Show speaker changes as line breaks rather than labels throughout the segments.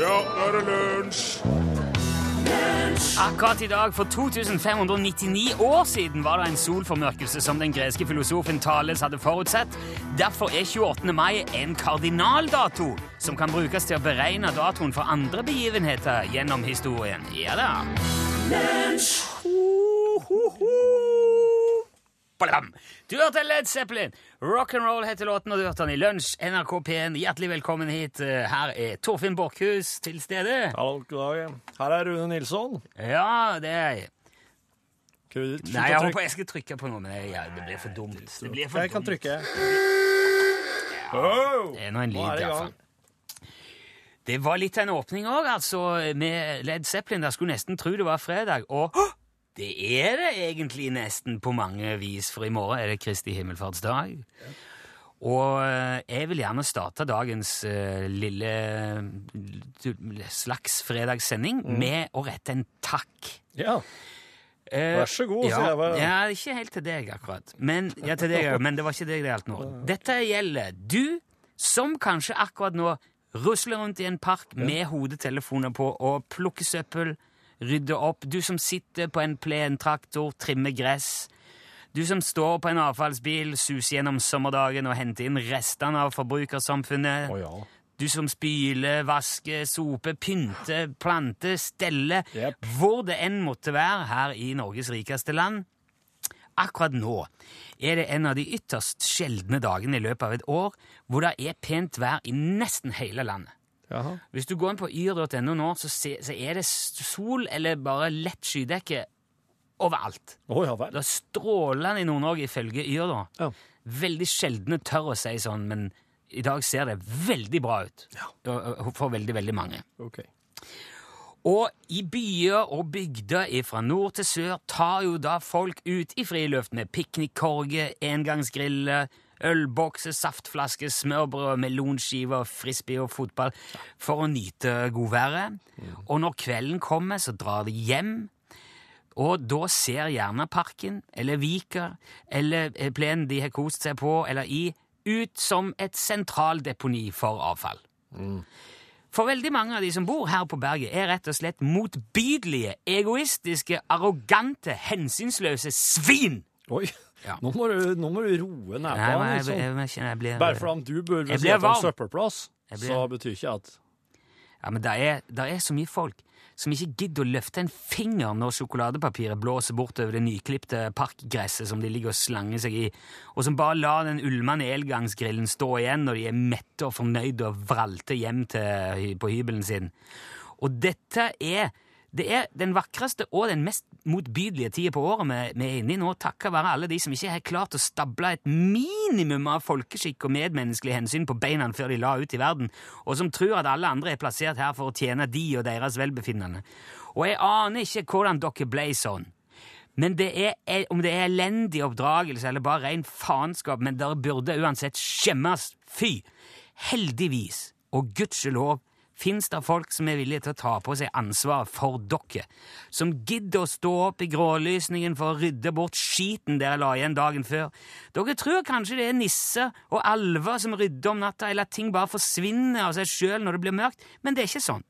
Ja, nå er det lunsj!
Akkurat i dag, for 2599 år siden, var det en solformørkelse som den greske filosofen Thales hadde forutsett. Derfor er 28. mai en kardinaldato, som kan brukes til å beregne datoen for andre begivenheter gjennom historien. Ja da. Ho, ho, ho. Blam. Du hørte Led Zeppelin. Rock'n'roll heter låten, og du hørte den i Lunsj, NRK P1. Hjertelig velkommen hit. Eh, Her er Torfinn Borchhus til stede.
Hallo, god dag. Her er Rune Nilsson.
Ja, det er jeg.
Kreditt,
Nei, jeg håper jeg skal trykke på noe, men jeg, ja, det blir for dumt. Det blir for
Jeg kan
dumt.
trykke.
Det er nå en lyd,
Nå er det i
iallfall.
gang.
Det var litt av en åpning òg, altså, med Led Zeppelin. Der skulle nesten tro det var fredag, og det er det egentlig nesten på mange vis, for i morgen er det Kristi himmelfartsdag. Og eh, jeg vil gjerne starte dagens eh, lille eh, slags fredagssending
Mm.
med å rette en takk.
Ja.
Eh,
Vær så god,
ja,
sier jeg bare.
Ja, ikke helt til deg, akkurat. Men, ja, til deg, ja, men det var ikke deg det gjaldt nå. Dette gjelder du, som kanskje akkurat nå rusler rundt i en park med hodetelefoner på og plukker søppel, rydder opp. Du som sitter på en plen traktor, trimmer gress. Du som står på en avfallsbil, suser gjennom sommerdagen og henter inn restene av forbrukersamfunnet.
Å ja.
Du som spyler, vasker, soper, pynter, planter, steller
Jep.
Hvor det enn måtte være her i Norges rikeste land. Akkurat nå er det en av de ytterst sjeldne dagene i løpet av et år hvor det er pent vær i nesten hele landet.
Jaha.
Hvis du går inn på yr.no nå, så, se, så er det s- sol eller bare lett skydekke overalt.
Å ja vel.
Det er strålende i Nord-Norge ifølge Yr, da.
Ja.
Veldig sjeldne tør å si sånn, men i dag ser det veldig bra ut Og- og for veldig, veldig mange.
Ok.
Og i byer og bygder fra nord til sør tar jo da folk ut i friluft med piknikkorger, engangsgriller, ølbokser, saftflasker, smørbrød, melonskiver, frisbee og fotball for å nyte godværet. Og når kvelden kommer, så drar de hjem. Og da ser gjerne parken, eller Vika, eller eh, plenen de har kost seg på eller i, ut som et sentraldeponi for avfall. For veldig mange av de som bor her på berget, er rett og slett motbydelige, egoistiske, arrogante, hensynsløse svin!
Oi.
Ja.
Nå, må du, nå må du roe
Nei,
nepa.
men jeg, jeg,
Liksom.
jeg, jeg, jeg blir
Bare fordi du bor ved
Jeg blir
siden av en
varm.
søppelplass,
Jeg blir-
så betyr ikke at
Ja, men det er, der er så mye folk som ikke gidder å løfte en finger når sjokoladepapiret blåser bortover det nyklipte parkgresset som de ligger og slanger seg i, og som bare lar den ulmende elgangsgrillen stå igjen når de er mette og fornøyde og vralter hjem til, hy- på hybelen sin. Og dette er, det er den vakreste og den mest motbydelige tida på året vi vi er inne i nå, takket være alle de som ikke har klart å stable et minimum av folkeskikk og medmenneskelig hensyn på beina før de la ut i verden, og som tror at alle andre er plassert her for å tjene de og deres velbefinnende. Og jeg aner ikke hvordan dere ble sånn. Men det er, el- om det er elendig oppdragelse eller bare ren faenskap, men dere burde uansett skjemmes. Fy! Heldigvis, og gudskjelov, fins det folk som er villige til å ta på seg ansvaret for dere. Som gidder å stå opp i grålysningen for å rydde bort skiten dere la igjen dagen før. Dere tror kanskje det er nisser og alver som rydder om natta, eller at ting bare forsvinner av seg sjøl når det blir mørkt, men det er ikke sånn.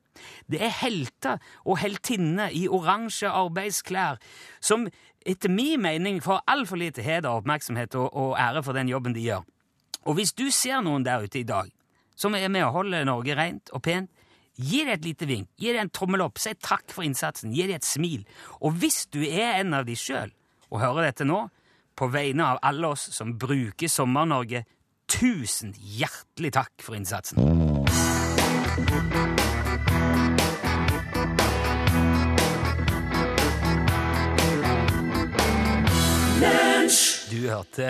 Det er helter og heltinner i oransje arbeidsklær som etter min mening får altfor lite heder, oppmerksomhet og, og ære for den jobben de gjør. Og hvis du ser noen der ute i dag som er med å holde Norge rent og pent, gi det et lite vink, gi det en tommel opp, si takk for innsatsen, gi det et smil. Og hvis du er en av de sjøl og hører dette nå, på vegne av alle oss som bruker Sommer-Norge, tusen hjertelig takk for innsatsen. Du hørte,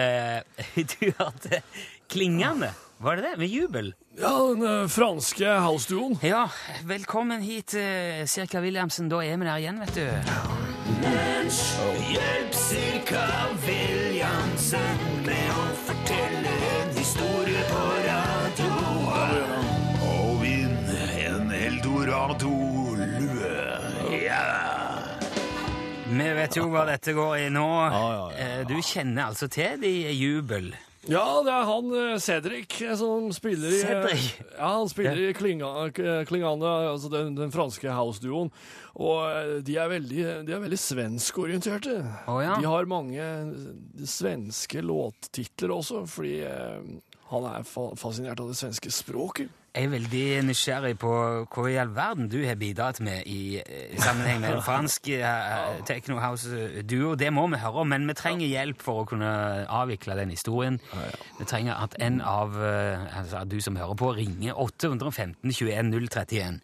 du hørte klingende, var det det? Med jubel?
Ja, den eh, franske house-duoen.
Ja, velkommen hit, eh, Sirka Williamsen. Da er vi der igjen, vet du. Hjelp Sirka Williamsen med å fortelle en historie på radioen.
Og vinn en eldorado-lue.
Vi vet jo hva dette går i nå.
Ja, ja, ja, ja.
Eh, Du kjenner altså til de jubel.
Ja, det er han eh, Cedric eh, som spiller i
Cedric?
Ja, han spiller i Klinga- K- Klingane, altså den, den franske house-duoen. Og eh, de er veldig, de er veldig svenskorienterte.
Å, ja.
De har mange eh, svenske låttitler også, fordi eh, han er fa fascinert av det svenske språket.
Jeg er veldig nysgjerrig på hva i all verden du har bidratt med i eh, sammenheng med en fransk eh, Techno House-duo. Det må vi høre om, men vi trenger hjelp for å kunne avvikle den historien. Vi trenger at en av eh, altså at du som hører på, ringer 815 21 031.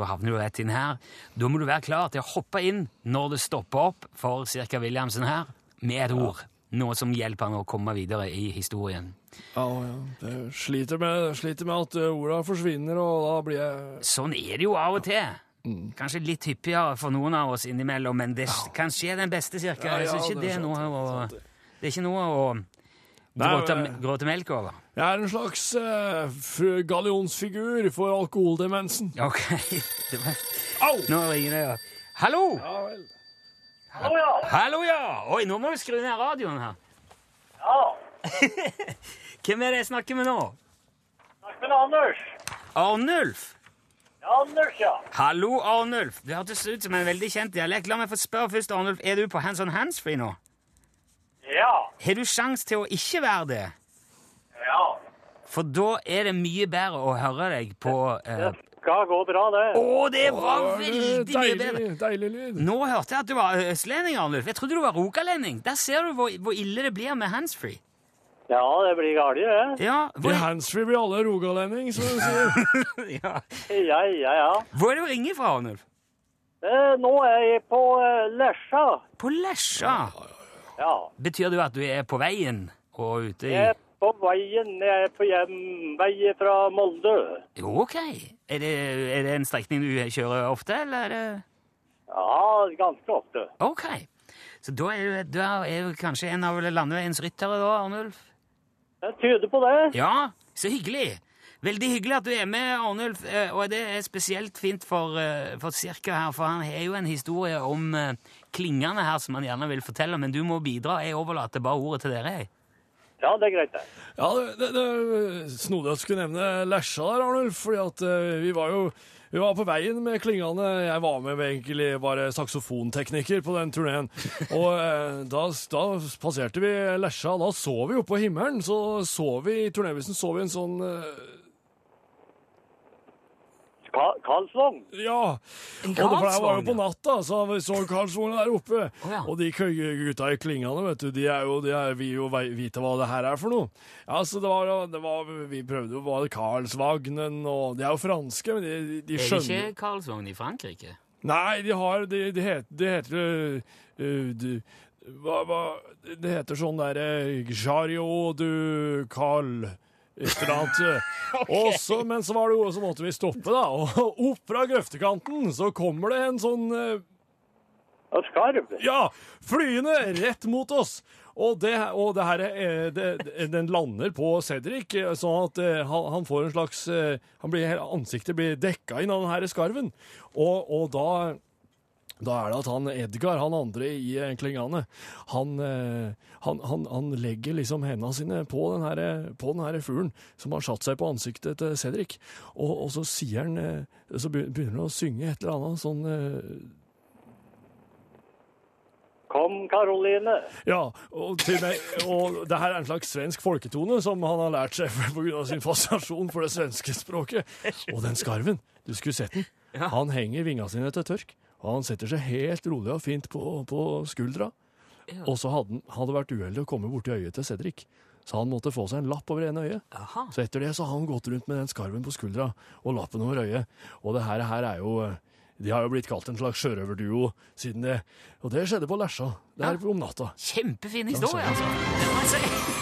Da havner du rett inn her. Da må du være klar til å hoppe inn når det stopper opp for Sirka Williamsen her, med et ord. Noe som hjelper han å komme videre i historien.
Ja, ja. Det sliter, med, sliter med at eh, orda forsvinner, og da blir jeg
Sånn er det jo av og til.
Mm.
Kanskje litt hyppigere for noen av oss innimellom, men det kan skje den beste, cirka.
Ja, ja,
Jeg synes ikke
det
det
er
er
sant,
noe å,
sant det.
det er ikke noe å
Nei,
gråte,
men-
gråte melk over.
Jeg er en slags eh, fru- gallionsfigur for alkoholdemensen.
Ok, det var,
Au!
nå ringer det. ja. Hallo!
Ja vel.
Hallo, ja.
Hallo, ja! Oi, nå må du skru ned radioen her.
ja.
Hvem er det jeg snakker med nå?
Snakk med Anders.
Arnulf!
Ja, Anders, ja.
Hallo, Arnulf. Det hørtes ut som en veldig kjent dialekt. La meg få spørre først, Arnulf, er du på hands on hands-free nå?
Ja.
Har du sjans til å ikke være det?
Ja.
For da er det mye bedre å høre deg på eh,
Det skal gå bra, det.
Å, det var veldig mye bedre!
Deilig, deilig lyd.
Nå hørte jeg at du var østlending, Arnulf. Jeg trodde du var rogalending. Der ser du hvor, hvor ille det blir med handsfree.
Ja, det blir galt, det.
Ja,
I
hvor,
handsfree blir alle rogalending, som du sier.
ja.
Ja, ja, ja.
hvor er det du ringer fra, Arnulf?
Eh, nå er jeg på eh, Lesja.
På Lesja.
Ja.
Betyr det jo at du er på veien og ute i
Jeg er på veien. Jeg er på hjemvei fra Molde.
Jo, OK. Er det, er det en strekning du kjører ofte, eller er det
Ja, ganske ofte.
OK. Så da er du, da er du kanskje en av landeveiens ryttere, da, Arnulf?
Det tyder på det.
Ja, så hyggelig. Veldig hyggelig at du er med, Arnulf. eh, Og det er spesielt fint for, eh, for Cirka her, for han har jo en historie om eh, klingene her som han gjerne vil fortelle, men du må bidra. Jeg overlater bare ordet til dere. jeg.
Ja, det er greit, det.
Ja, det, det, det Snodig at du skulle nevne Lesja der, Arnulf, fordi at eh, vi var jo vi var på veien med klingene. Jeg var med egentlig bare saksofontekniker på den turneen. Og eh, da, da passerte vi Lesja. Da så vi oppe på himmelen. Så så vi i turnébussen så vi en sånn eh,
Ka- Karlsvogn.
Ja. Og det for det var jo på natta, så vi så Karlsvogna der oppe.
Å, ja.
Og de kø- gutta i klingene, vet du, de er jo, de er, vi jo vei- vite hva det her er for noe. Ja, så det var, det var Vi prøvde jo var det Karlsvagnen og De er jo franske, men de, de, de
Er det
skjønner
ikke Karlsvogn i Frankrike?
Nei, de har De, de, het, de heter øh, de, hva, hva, Det heter sånn derre Jariot du Carl et eller annet. Og så, men så var det jo, så måtte vi stoppe, da. Og opp fra grøftekanten så kommer det en sånn øh,
Og skarv.
Ja, flyende rett mot oss. Og, det, og det her, er- det, det- den lander på Cedric, eh, sånn at eh, han, han får en slags eh, han blir, hele Ansiktet blir dekka inn av den her skarven. Og, og da, da er det at han Edgar, han andre i eh, Klingane, han, eh, han, han, han legger liksom hendene sine på den her, eh, på den her fuglen som har satt seg på ansiktet til Cedric. Og, og så sier han eh, Så begyn- begynner han å synge et eller annet sånn eh,
Kom, Karoline.
Ja, og, til meg, og det her er en slags svensk folketone som han har lært seg pga. sin fascinasjon for det svenske språket. Og den skarven, du skulle sett den. Han henger vinga sine til tørk, og han setter seg helt rolig og fint på, på skuldra. Og så hadde han hadde vært uheldig å komme borti øyet til Cedric, så han måtte få seg en lapp over ene øyet.
Aha.
Så etter det så har han gått rundt med den skarven på skuldra og lappen over øyet. Og det her, her er jo eh, De har jo blitt kalt en slags sjørøverduo siden det. Og det skjedde på Lesja. Det er om natta.
Kjempefin historie, altså. Det må jeg si.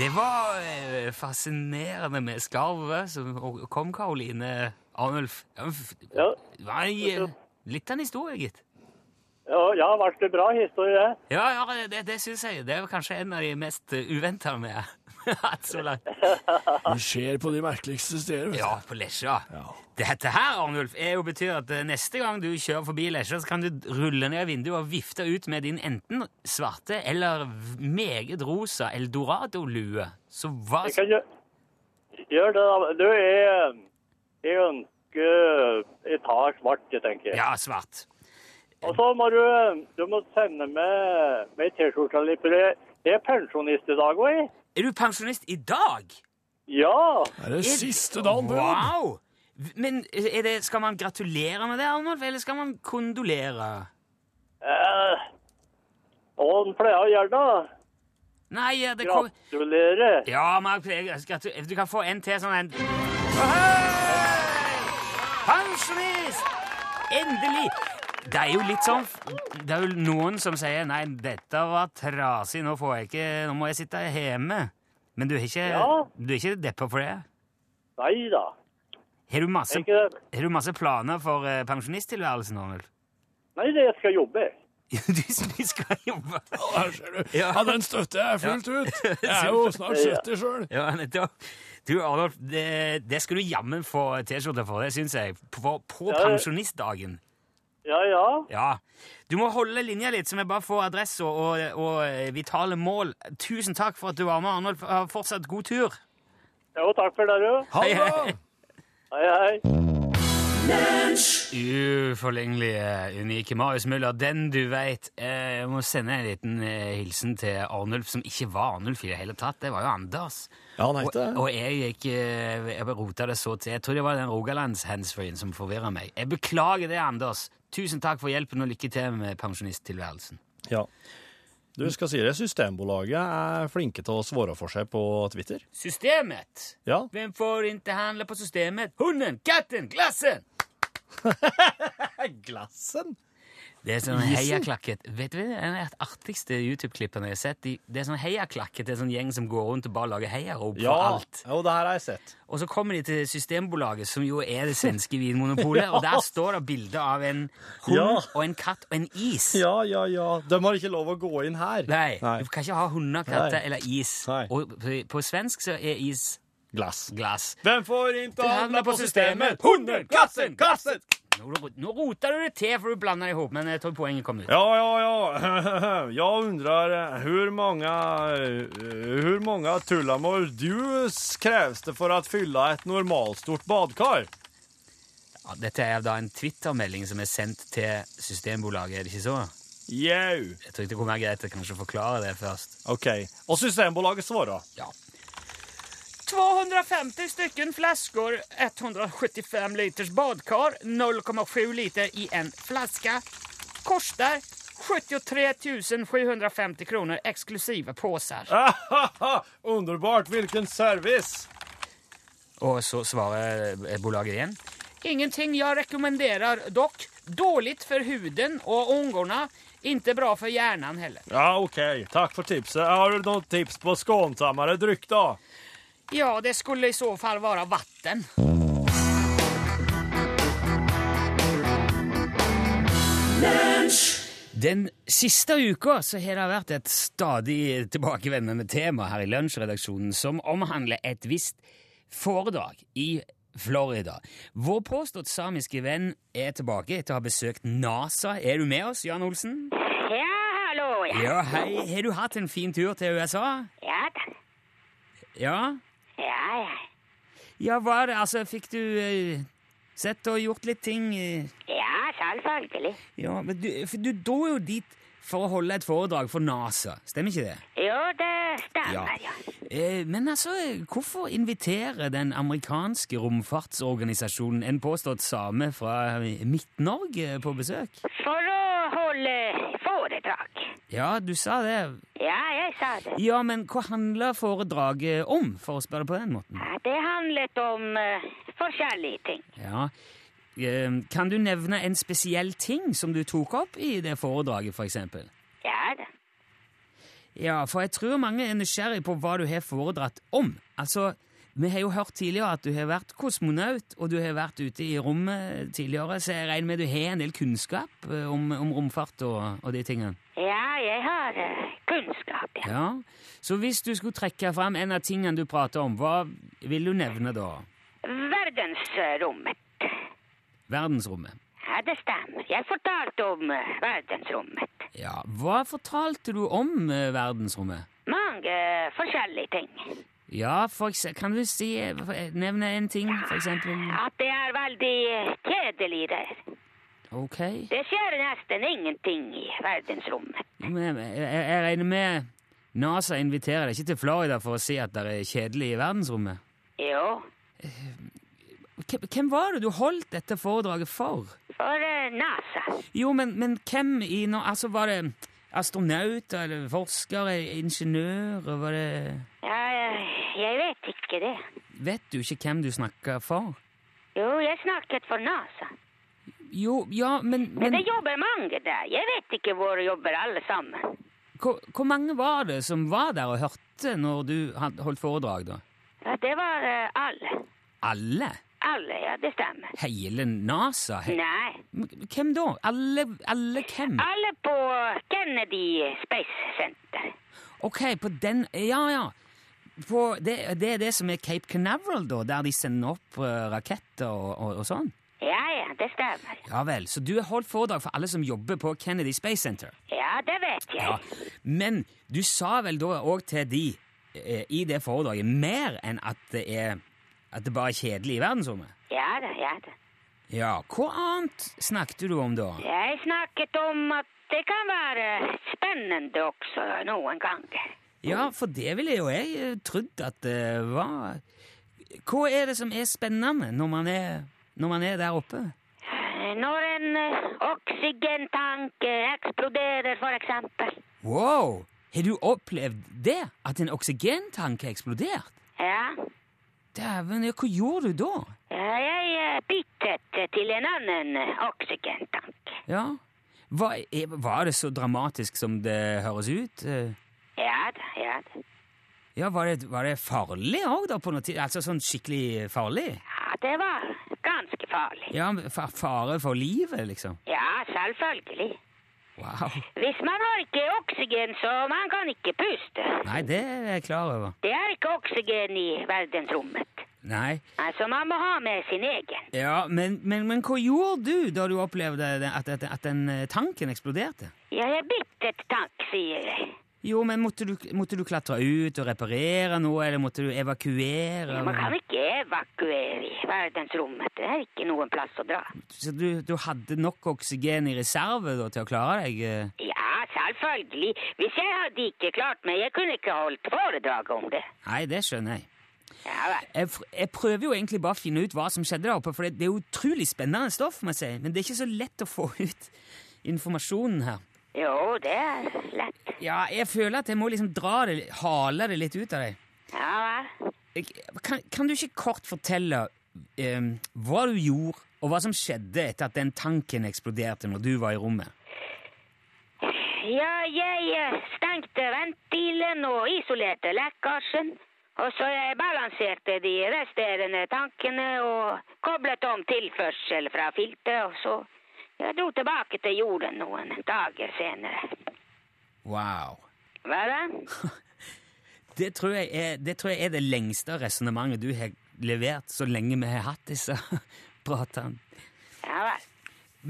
Det var eh, fascinerende med skarvet som og- og kom, Karoline Arnulf. Ja, f-
Ja,
Det var en, eh, litt av en historie, gitt.
ja, ja ble det bra historie, det?
Ja, ja det, det syns jeg. Det er jo kanskje en av de mest uventa med, hatt så langt.
Det skjer på de merkeligste steder. vet du.
Ja, på Lesja.
Ja.
Dette her, Arnulf, er jo betyr at eh, neste gang du kjører forbi Lesja, så kan du rulle ned vinduet og vifte ut med din enten svarte eller v- meget rosa eldorado-lue. Så hva
Jeg kan gjø- gjøre det, da. Du, jeg, eh, jeg ønsker Jeg tar svart, jeg tenker.
Ja, svart.
Og så må du, du må sende med, med T-skjorta litt, for jeg jeg er pensjonist i dag òg, jeg.
Er du pensjonist i dag?
Ja.
Det er det siste dagen på jobb.
Wow! V- Men eh, er det, skal man gratulere med det, Arnulf, eller skal man kondolere?
Eh, og han pleier å gjøre det.
Nei, ja, det kom...
Gratulerer.
Ja, men jeg- jeg- du kan få en til sånn en. Pensjonist! Endelig! Det er jo litt sånn Det er jo noen som sier 'nei, dette var trasig, nå, får jeg ikke, nå må jeg sitte hjemme'. Men du er ikke,
Ja.
du er ikke deppa for det?
Nei da.
Har du masse,
Jeg er ikke det.
har du masse planer for eh, pensjonisttilværelsen, Arnulf?
Nei, det jeg skal jobbe.
Du, du skal jobbe
Her ser du.
Ja.
Ja, den støtter jeg fullt ut. Jeg er jo snart 70 sjøl.
Ja, nettopp. Du, Arnulf, det, det skal du jammen få T-skjorte for, det syns jeg. På, på
Ja, det-
pensjonistdagen.
Ja, ja.
Ja. Du må holde linja litt, så vi bare får adresse og, og eh, vitale mål. Tusen takk for at du var med, Arnold. Ha Fortsatt god tur.
Jo, takk for det, du.
Ha
Hei,
det bra!
hei.
Hei, hei.
Uforlignelige, unike Marius Müller, den du veit. Jeg må sende en liten eh, hilsen til Arnulf, som ikke var Arnulf i det hele tatt. Det var jo Anders.
Ja, han
Og, og jeg gikk eh, Jeg rota det så til. Jeg tror det var den Rogalands-handsfree-en som forvirra meg. Jeg beklager det, Anders. Tusen takk for hjelpen, og lykke til med pensjonisttilværelsen.
Ja. Du skal si det, Systembolaget er flinke til å svare for seg på Twitter.
Systemet!
Ja.
Hvem får inte handla på systemet? Hunden, katten, glassen!
Glassen?
Det er sånn
Isen.
heiaklakket. Vet du hva det er den artigste YouTube-klippene jeg har sett? De- Det er sånn heiaklakket, det er sånn gjeng som går rundt og bare lager heiarop for
Ja,
alt.
jo, det her har jeg sett.
Og så kommer de til Systembolaget, som jo er det svenske vinmonopolet, og der står det bilder av en hund
Ja.
og en katt og en is.
Ja, ja, ja. De har ikke lov å gå inn her.
Nei, du kan ikke ha hunder, katter
Nei.
eller is.
Nei.
Og på- på svensk så er is
Glass.
glass.
Hvem får ikke
handla på systemet? Hunden, katten,
glassen!
Nå, nå roter du det til, for du blander det i hop, men jeg tror poenget kom ut.
Ja, ja, ja. Jeg undrer eh, hvor mange eh, Hvor mange tullamor dus kreves det for å fylle et normalstort badkar?
Ja, dette er da en Twitter-melding som er sendt til Systembolaget, er det ikke så?
Jau.
Jeg tror ikke det kunne være greit å kanskje forklare det først.
OK. Og Systembolaget svarer.
Ja. 250 stycken flaskor, 175 liters badkar, 0,7 liter i en flaska. Koster 73 750 kroner eksklusive påsar.
Ahaha, Underbart! Hvilken service!
Og så svarer bolaget igjen. Ingenting jeg rekommenderer dock. Dårlig for huden og ungene. Ikke bra for hjernen heller.
Ja, OK. Takk for tipset. Har du noen tips på skånsommere drykk, da?
Ja, det skulle i så fall være vann. Den siste uka så har det vært et stadig tilbakevendende tema her i lunsjredaksjonen som omhandler et visst foredrag i Florida. Vår påstått samiske venn er tilbake etter å ha besøkt NASA. Er du med oss, Jan Olsen?
Ja, hallo, ja.
Ja, hei. Har du hatt en fin tur til USA?
Ja da.
Ja?
Ja, ja.
Ja, hva er det? Altså, fikk du eh, sett og gjort litt ting? eh?
Ja, sånn, selvfølgelig.
ja, men du, for du dro jo dit for å holde et foredrag for NASA, stemmer ikke det?
Jo, det stemmer, ja.
Eh, men altså, hvorfor inviterer den amerikanske romfartsorganisasjonen en påstått same fra Midt-Norge på besøk?
For å holde foredrag.
Ja, du sa det.
Ja, jeg sa det.
Ja, men hva handler foredraget om, for å spørre på den måten?
Ja, Det handlet om eh, forskjellige ting.
Ja, eh, kan du nevne en spesiell ting som du tok opp i det foredraget, for eksempel?
Ja da.
Ja, for jeg tror mange er nysgjerrig på hva du har foredratt om. Altså, vi har jo hørt tidligere at du har vært kosmonaut, og du har vært ute i rommet tidligere, så jeg regner med du har en del kunnskap eh, om, om romfart og, og de tingene.
Ja, jeg jeg har eh, kunnskap, ja.
Ja. Så hvis du skulle trekke fram en av tingene du prater om, hva vil du nevne da?
Verdensrommet.
Verdensrommet.
Ja, det stemmer. Jeg fortalte om eh, verdensrommet.
Ja, hva fortalte du om eh, verdensrommet?
Mange forskjellige ting.
Ja, for ekse- kan du si, eh, nevne en ting, for eksempel?
At det er veldig eh, kjedelig der.
Ok.
Det skjer nesten ingenting i verdensrommet.
Men Jeg, jeg jeg regner med NASA inviterer deg ikke til Florida for å si at det er kjedelig i verdensrommet.
Jo,
Hvem, hvem var det du holdt dette foredraget for?
for eh, NASA.
Jo, men, men hvem i nå... Altså, var det astronauter, eller forskere, ingeniører, var det...
Ja, eh, jeg vet ikke det.
Vet du ikke hvem du snakker for?
Jo, jeg snakket for NASA.
Jo, ja, men...
Men
men
det jobber mange der. Jeg vet ikke hvor jobber alle sammen.
hvor, hvor mange var det som var der og hørte når du had- holdt foredrag, da?
Ja, det var eh, alle.
Alle?
Alle, ja, det stemmer.
Hele NASA? He
Nei. Ah,
M- Hvem da? Alle, alle hvem?
Alle på Kennedy Space Center.
Ok, på den Ja, ja. På det, det er det som er Cape Canaveral, da, der de sender opp eh, raketter og, og, og sånn?
Ja, ja, det stemmer.
Ja vel, så du har holdt foredrag for alle som jobber på Kennedy Space Center?
Ja, det vet jeg.
Ja. Men du sa vel da òg til de eh, i det foredraget mer enn at det er at det bare er kjedelig i verdensrommet?
Ja da, ja da.
Ja, hva annet snakket du om da?
Jeg snakket om at det kan være spennende også noen ganger.
Ja, for det ville jo jeg eh, trodd at det var. Hva er det som er spennende når man er, når man er der oppe?
Når en eh, oksygentank eh, eksploderer, for eksempel.
Wow! Har du opplevd det? At en oksygentank har eksplodert?
Ja.
Dæven, ja, hva gjorde du da?
Ja, Jeg eh, byttet til en annen eh, oksygentank.
Ja, Hva, er- Var det så dramatisk som det høres ut? Eh,
Ja da, ja da.
Ja, Var det, var det farlig òg, da? på noe tid? Altså sånn skikkelig farlig?
Ja, det var ganske farlig.
Ja, fa- Fare for livet, liksom?
Ja, selvfølgelig.
Wow.
Hvis man har ikke oksygen, så man kan ikke puste.
Nei, det er jeg klar over.
Det er ikke oksygen i verdensrommet.
Nei.
Altså, man må ha med sin egen.
Ja, men, men, men hva gjorde du da du opplevde det- at, at, at den eh, tanken eksploderte?
Ja, jeg byttet tank, sier jeg.
Jo, men måtte du, måtte du klatre ut og reparere noe, eller måtte du evakuere?
Man kan ikke evakuere i verdensrommet. Det er ikke noen plass å dra.
Så du, du hadde nok oksygen i reserve da, til å klare deg? eh?
Ja, selvfølgelig. Hvis jeg hadde ikke klart meg, jeg kunne ikke holdt foredrag om det.
Nei, det skjønner jeg.
Ja vel.
Jeg, fr- jeg prøver jo egentlig bare å finne ut hva som skjedde der oppe, for det, det er utrolig spennende stoff, må jeg si, men det er ikke så lett å få ut informasjonen her.
Jo, det er lett.
Ja, jeg føler at jeg må liksom dra det, hale det litt ut av deg.
Ja vel.
Jeg- Kan, kan du ikke kort fortelle eh, hva du gjorde, og hva som skjedde etter at den tanken eksploderte når du var i rommet?
Ja, jeg eh, stengte ventilen og isolerte lekkasjen. Og så jeg balanserte de resterende tankene og koblet om tilførsel fra filteret, og så jeg dro tilbake til jorden noen dager senere.
Wow.
Hva da?
Det tror jeg er det, tror jeg er det lengste resonnementet du har levert så lenge vi har hatt disse pratene.
Ja vel.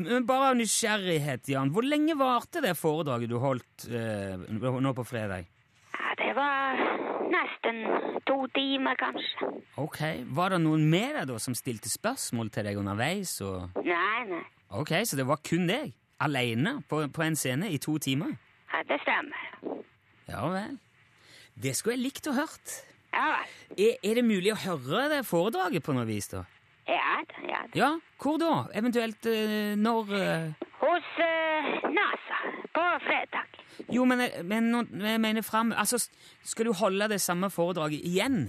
Men bare av nysgjerrighet, Jan, hvor lenge varte det foredraget du holdt eh, nå på fredag?
Ja, det var nesten to timer, kanskje.
Ok, Var det noen med deg da som stilte spørsmål til deg underveis? Og...
Nei, nei.
Ok, Så det var kun deg? Aleine? På, på en scene i to timer?
Ja, det stemmer.
Ja vel. Det skulle jeg likt å hørt.
Ja vel.
Er, er det mulig å høre det foredraget på noe vis, da?
Ja da, ja da.
Ja, hvor da? Eventuelt eh, når eh?
Hos eh, NASA på fredag.
Jo, men, jeg- men nå- jeg mener fram Altså, s- skal du holde det samme foredraget igjen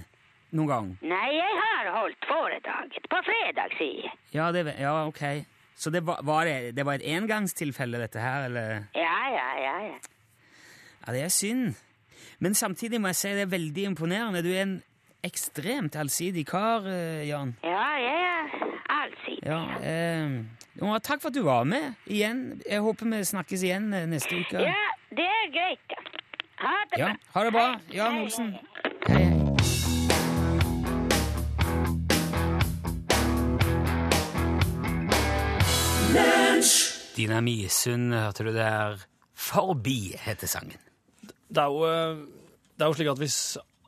noen gang?
Nei, jeg har holdt foredraget på fredag, sier jeg.
Ja, det, ve- ja ok. Så det var, var, det, det var et engangstilfelle, dette her, eller?
Ja, ja, ja, ja.
Ja, det er synd. Men samtidig må jeg si det er veldig imponerende. Du er en ekstremt allsidig kar, eh, Jan.
Ja, jeg er allsidig.
Ja, eh, og takk for at du var med igjen. Jeg håper vi snakkes igjen eh, neste uke.
Ja, Det er greit. Ha det
Ja,
bra.
ha det bra,
Hei.
Jan
Hei.
Olsen.
Dina Misund, hørte du der? Forbi heter sangen.
Det er jo, eh, det er jo slik at hvis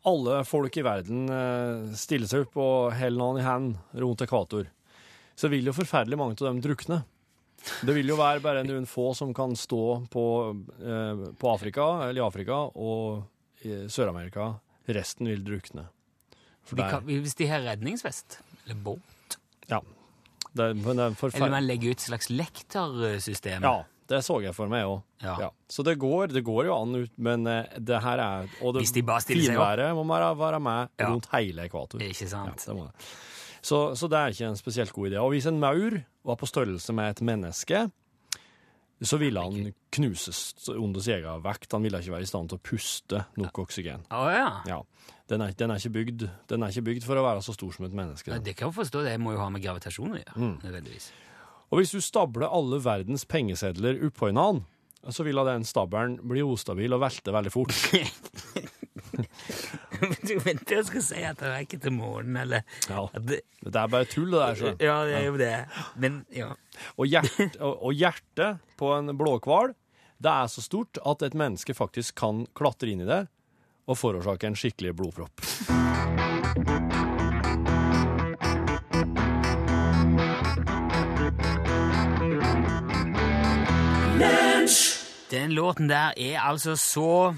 alle folk i verden eh, stiller seg opp og heller noen i hand rundt ekvator, så vil jo forferdelig mange av dem drukne. Det vil jo være bare noen få som kan stå på, eh, på Afrika, eller i Afrika, og i Sør-Amerika. Resten vil drukne. For
Vi
det er-
kan, hvis de har redningsvest eller båt
Ja. Det, er- men det er
Eller man
forferdelig.
legger ut et slags lektersystem.
Ja, det så jeg for meg òg.
Ja.
Så det går, det går jo an ut, men eh, det her er Og det
Hvis de bare stiller seg opp.
finværet må være, være med
Ja.
rundt hele ekvator.
Ikke
Ja,
sant?
det må det. Så, så det er ikke en spesielt god idé. Og hvis en maur var på størrelse med et menneske, så ville han knuses under sin egen vekt. Han ville ikke være i stand til å puste nok oksygen.
Å ja.
Ja. Den er, den, er ikke bygd, den er ikke bygd for å være så stor som et menneske.
Ja, Det kan jeg forstå. Det må jo ha med gravitasjon å gjøre.
Mm.
nødvendigvis.
Og hvis du stabler alle verdens pengesedler oppå hverandre, så vil den stabelen bli ustabil og velte veldig fort.
Du venter jeg skal si at det er ikke til morgenen, eller
Ja.
at det,
Det er bare tull, det der. skjønner du.
Ja, det er jo det. Men ja.
Og, hjert, og, og hjertet på en blåhval, det er så stort at et menneske faktisk kan klatre inn i det og forårsake en skikkelig blodpropp.
Den låten der er altså så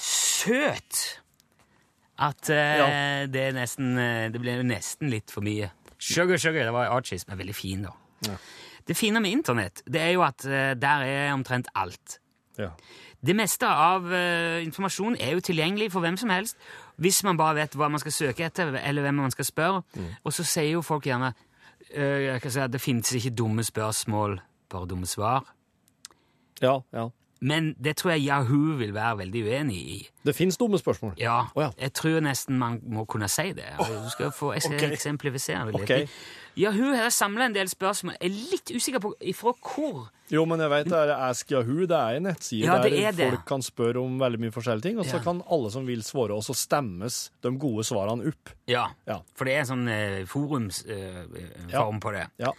søt at eh,
Ja.
det, er nesten, eh, det ble nesten litt for mye. Sugar Sugar, det var Archies, men veldig fin, da. Det fine med internett det er jo at eh, der er omtrent alt.
Ja.
Det meste av eh, informasjon er jo tilgjengelig for hvem som helst, hvis man bare vet hva man skal søke etter, eller hvem man skal spørre.
Mm.
Og så sier jo folk gjerne eh, jeg kan si at det finnes ikke dumme spørsmål, bare dumme svar.
ja, ja.
Men det tror jeg Yahoo vil være veldig uenig i.
Det fins dumme spørsmål.
Ja,
Å, ja.
Jeg tror nesten man må kunne si det. Du skal få eks-
Ok.
eksemplifisere det litt.
Ok.
Yahoo har samla en del spørsmål. Jeg er litt usikker på ifra hvor.
Jo, men jeg vet det er Ask Yahoo, det er en nettside
Ja, det er
der
det.
folk kan spørre om veldig mye forskjellige ting, og så
Ja.
kan alle som vil svare, og så stemmes de gode svarene opp.
Ja,
Ja.
For det er en sånn eh, forumsform
Ja.
på det.
Ja.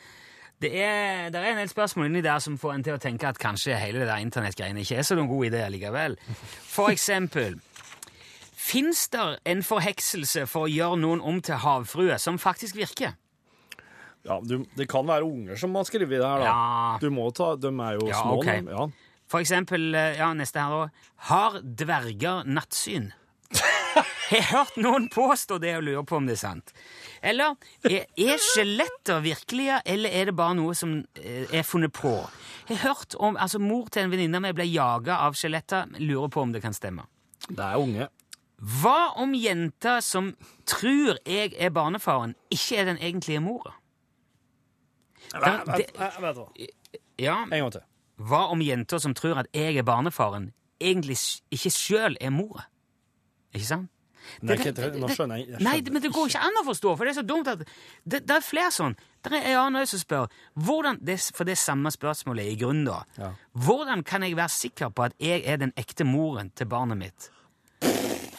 Det er, der er en del spørsmål inni der som får en til å tenke at kanskje hele det der internettgreiene ikke er så noen god idé likevel. For eksempel Fins der en forhekselse for å gjøre noen om til havfrue som faktisk virker?
Ja, du, det kan være unger som har skrevet det her, da.
Ja.
Du må ta, de er jo
Ja,
små.
ok.
nå. Ja.
For eksempel, eh, ja, neste her da. Har dverger nattsyn? Jeg har hørt noen påstå det og lurer på om det er sant. Eller er, er skjeletter virkelige, eller er det bare noe som eh, er funnet på? Jeg har hørt om, altså Mor til en venninne av meg ble jaga av skjeletter. men Lurer på om det kan stemme.
Det er unge.
Hva om jenta som tror jeg er barnefaren, ikke er den egentlige mora? Da- det-
Vet du hva.
Ja,
En gang til.
Hva om jenter som tror at jeg er barnefaren, egentlig s- ikke sjøl er mora? Ikke sant?
Nei,
Det-
ikke-
det-
nå
det-
skjønner jeg- jeg
Nei,
skjønner
men det går ikke an å forstå, for det er så dumt at Det, det er flere sånn. Det er en annen også som spør hvordan, det, For det er samme spørsmålet i grunnen, da.
Ja.
Hvordan kan jeg være sikker på at jeg er den ekte moren til barnet mitt?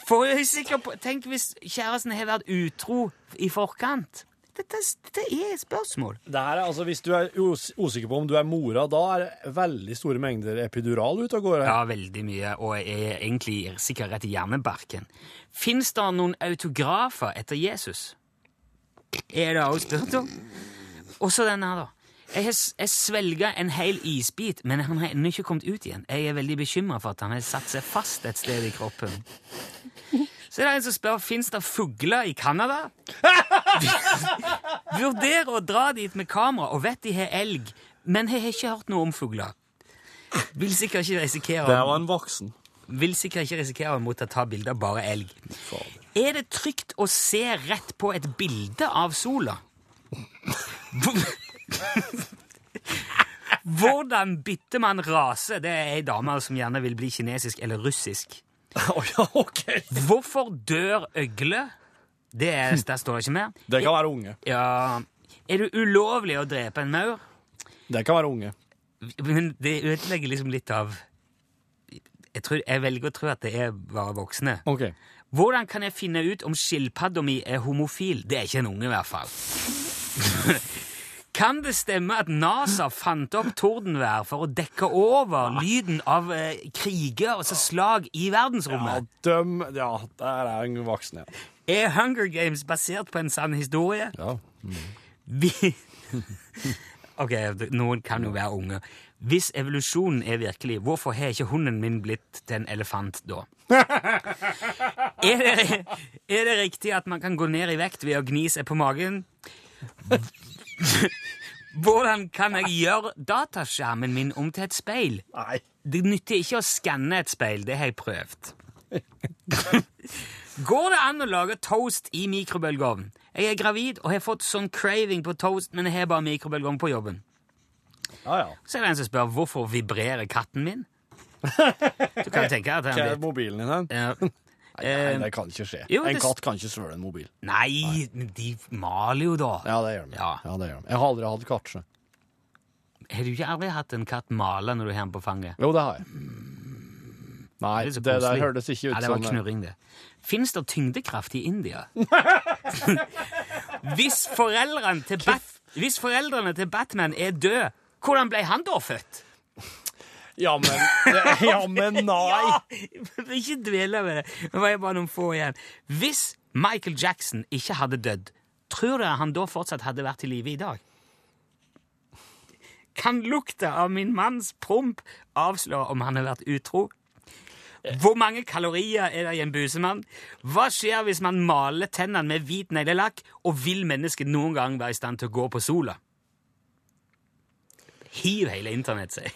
For jeg er sikker på Tenk hvis kjæresten har vært utro i forkant. Dette, dette er et spørsmål.
Det her er altså, Hvis du er us usikker på om du er mora, da er det veldig store mengder epidural ute og går.
Ja, veldig mye, og jeg er egentlig sikkert rett i hjernebarken. Fins det noen autografer etter Jesus? Er det også spurt om? Og så denne her, da. Jeg, har s- jeg svelga en hel isbit, men han har ennå ikke kommet ut igjen. Jeg er veldig bekymra for at han har satt seg fast et sted i kroppen. Så er det en som spør fins det fugler i Canada. Vurderer å dra dit med kamera og vet de har elg, men jeg har ikke hørt noe om fugler. Vil sikkert ikke risikere
Det var en voksen.
vil sikkert ikke risikere mot å ta bilder av bare elg. Er det trygt å se rett på et bilde av sola? Hvordan bytter man rase? Det er ei dame som gjerne vil bli kinesisk eller russisk.
Å ja, ok.
Hvorfor dør øgle? Det er, der står det ikke mer.
Det kan være unge.
Ja, er det ulovlig å drepe en maur?
Det kan være unge.
Men det ødelegger liksom litt av jeg, tror, jeg velger å tro at det er bare voksne.
Ok.
Hvordan kan jeg finne ut om skilpadda mi er homofil? Det er ikke en unge, i hvert fall. Kan det stemme at NASA fant opp tordenvær for å dekke over lyden av eh, kriger, altså slag, i
Ja,
verdensrommet?
døm Ja, der er en voksen, ja.
Er Hunger Games basert på en sann historie? Vi Ok, noen kan jo være unge. Hvis evolusjonen er virkelig, hvorfor har ikke hunden min blitt til en elefant da? Er det, er det riktig at man kan gå ned i vekt ved å gni seg på magen? Hvordan kan jeg gjøre dataskjermen min om til et speil?
Nei.
Det nytter ikke å skanne et speil, det har jeg prøvd. Går det an å lage toast i mikrobølgeovn? Jeg er gravid og har fått sånn craving på toast, men jeg har bare mikrobølgeovn på jobben.
Ja, ja.
Så er det en som spør hvorfor vibrerer katten min? Du kan tenke at
Hva er
han vet.
mobilen din hen?
Ja.
Nei,
Eh,
det kan ikke skje.
jo,
en
det-
katt kan ikke svøle en mobil.
nei, men de maler jo da.
Ja, det gjør den.
Ja.
Ja, det gjør den. Jeg har aldri hatt katt. sjø.
Har du ikke aldri hatt en katt male når du har den på fanget?
Jo, det har jeg. Nei,
Det er
det,
så
der
koselig.
hørtes ikke ut
Nei, det
som
var knurring, det. Fins det tyngdekraft i India? hvis, foreldrene til Bat hvis foreldrene til Batman er døde, hvordan ble han da født?
Ja, men, ja, men nei!
Ja! ikke dvele ved det. Det var bare noen få igjen. Hvis Michael Jackson ikke hadde dødd, tror dere han da fortsatt hadde vært i live i dag? Kan lukta av min manns promp avsløre om han har vært utro? Hvor mange kalorier er det i en busemann? Hva skjer hvis man maler tennene med hvit neglelakk, og vil mennesket noen gang være i stand til å gå på sola? Hiv hele internett seg.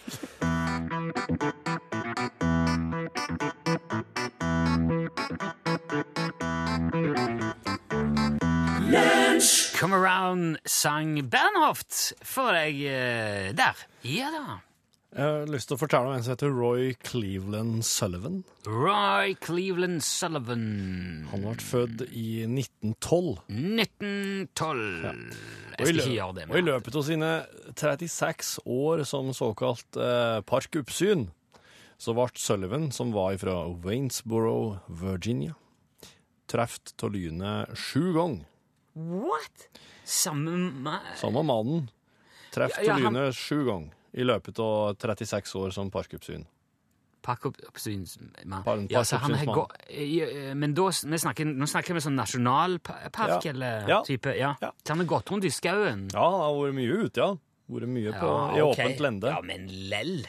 Come Around sang Bernhoft for deg eh, der. Ja da.
Jeg har lyst til å fortelle om en som heter Roy Cleveland Sullivan.
Roy Cleveland Sullivan.
Han ble født i 1912.
1912.
Og
Jeg
i
skal ikke
lø-
gjøre det.
Og i løpet av sine 36 år som såkalt eh, parkoppsyn, så ble Sullivan, som var fra Waynesboro, Virginia, truffet av lynet sju ganger.
What? Samme ma-
Samme mannen truffet
Ja,
av
ja, han-
lynet sju ganger i løpet av 36 år som parkoppsyn.
Parkoppsynsmann.
Pardon,
Ja, så han har
parkoppsynsmann.
gå- eh, Men da, s- vi snakker, nå snakker vi sånn nasjonalpark
Ja.
eller
Ja.
type. Ja.
Ja.
Så han har gått rundt i skauen.
Ja, han har vært mye ute, ja. Vært mye på, i
ok.
åpent lende.
Ja, men lell.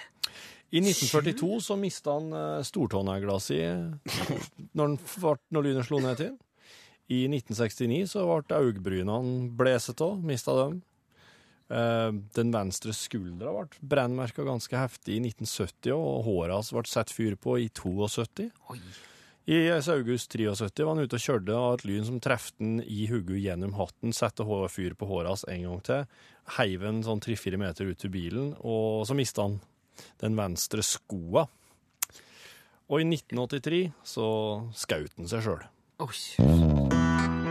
I 1942 så mista han eh, stortåneglasset i når, han fart, når lynet slo ned til. I 1969 så ble øyebrynene han bleset av, mista dem. Eh, den venstre skuldra ble brennmerka ganske heftig i 1970, og håret hans ble satt fyr på i 72.
Oi.
I august 73 var han ute og kjørte, og at lyn som trefte han i hodet gjennom hatten, satte hå- fyr på håret hans en gang til, heiv han sånn tre-fire meter ut til bilen, og så mista han den venstre skoa. Og i 1983 så skjøt han seg sjøl.
Oi.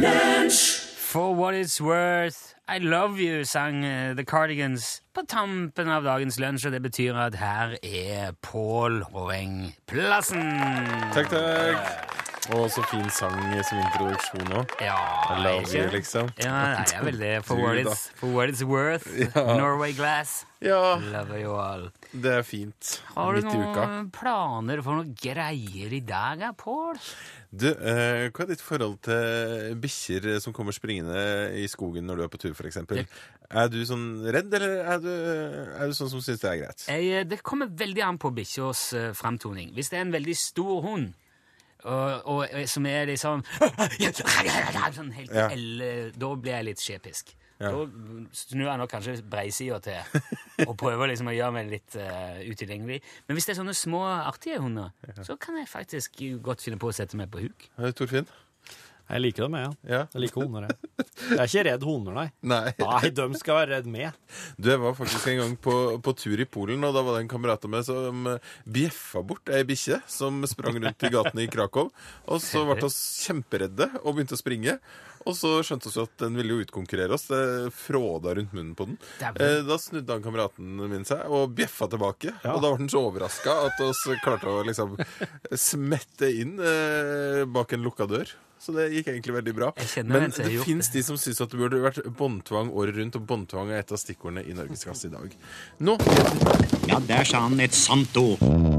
For what it's worth, I love you, sang eh, The Cardigans på tampen av dagens lunsj, og det betyr at her er Pål Roveng Plassen.
Takk, takk. Og så fin sang som introduksjon òg.
Ja,
I love you,
ikke?
liksom.
Ja, det er vel det. For
Du,
what
da.
it's, for what it's worth, Norway Glass,
Ja,
love you all.
det er fint.
Har du
Midt i uka.
noen planer for noen greier i dag, ja, Pål?
Du, eh, hva er ditt forhold til bikkjer som kommer springende i skogen når du er på tur, f.eks.? Er du sånn redd, eller er du, er du sånn som syns det er greit?
Jeg, eh, det kommer veldig an på bikkjas eh, framtoning. Hvis det er en veldig stor hund og, og, eh, som er liksom sånn helt
Ja.
elle, Da blir jeg litt skjepisk. Da snur jeg nok kanskje breisida til og prøver liksom å gjøre meg litt eh, utilgjengelig. Men hvis det er sånne små, artige hunder, så kan jeg faktisk godt finne på å sette meg på huk.
Eh, Torfinn?
Jeg liker dem, jeg. Ja.
Ja.
Jeg liker hunder, jeg. Jeg er ikke redd hunder, nei.
Nei.
Nei, de skal være redd med.
Du, jeg var faktisk en gang på, på tur i Polen, og da var det en kamerat av meg som eh, bjeffa bort ei bikkje som sprang rundt i gatene i Krakow. Og så ble vi kjemperedde og begynte å springe. Og så skjønte vi at den ville jo utkonkurrere oss. Det fråda rundt munnen på den.
Dæven.
Eh, Da snudde han kameraten min seg og bjeffa tilbake. Og da var den så overraska at oss klarte å liksom smette inn eh, bak en lukka dør. Så det gikk egentlig veldig bra.
Jeg kjenner
Men
en som har
det
gjort
fins de som syns at det burde vært båndtvang året rundt, og båndtvang er et av stikkordene i Norgesklasse i dag. Nå
Ja, der sa han et sant ord.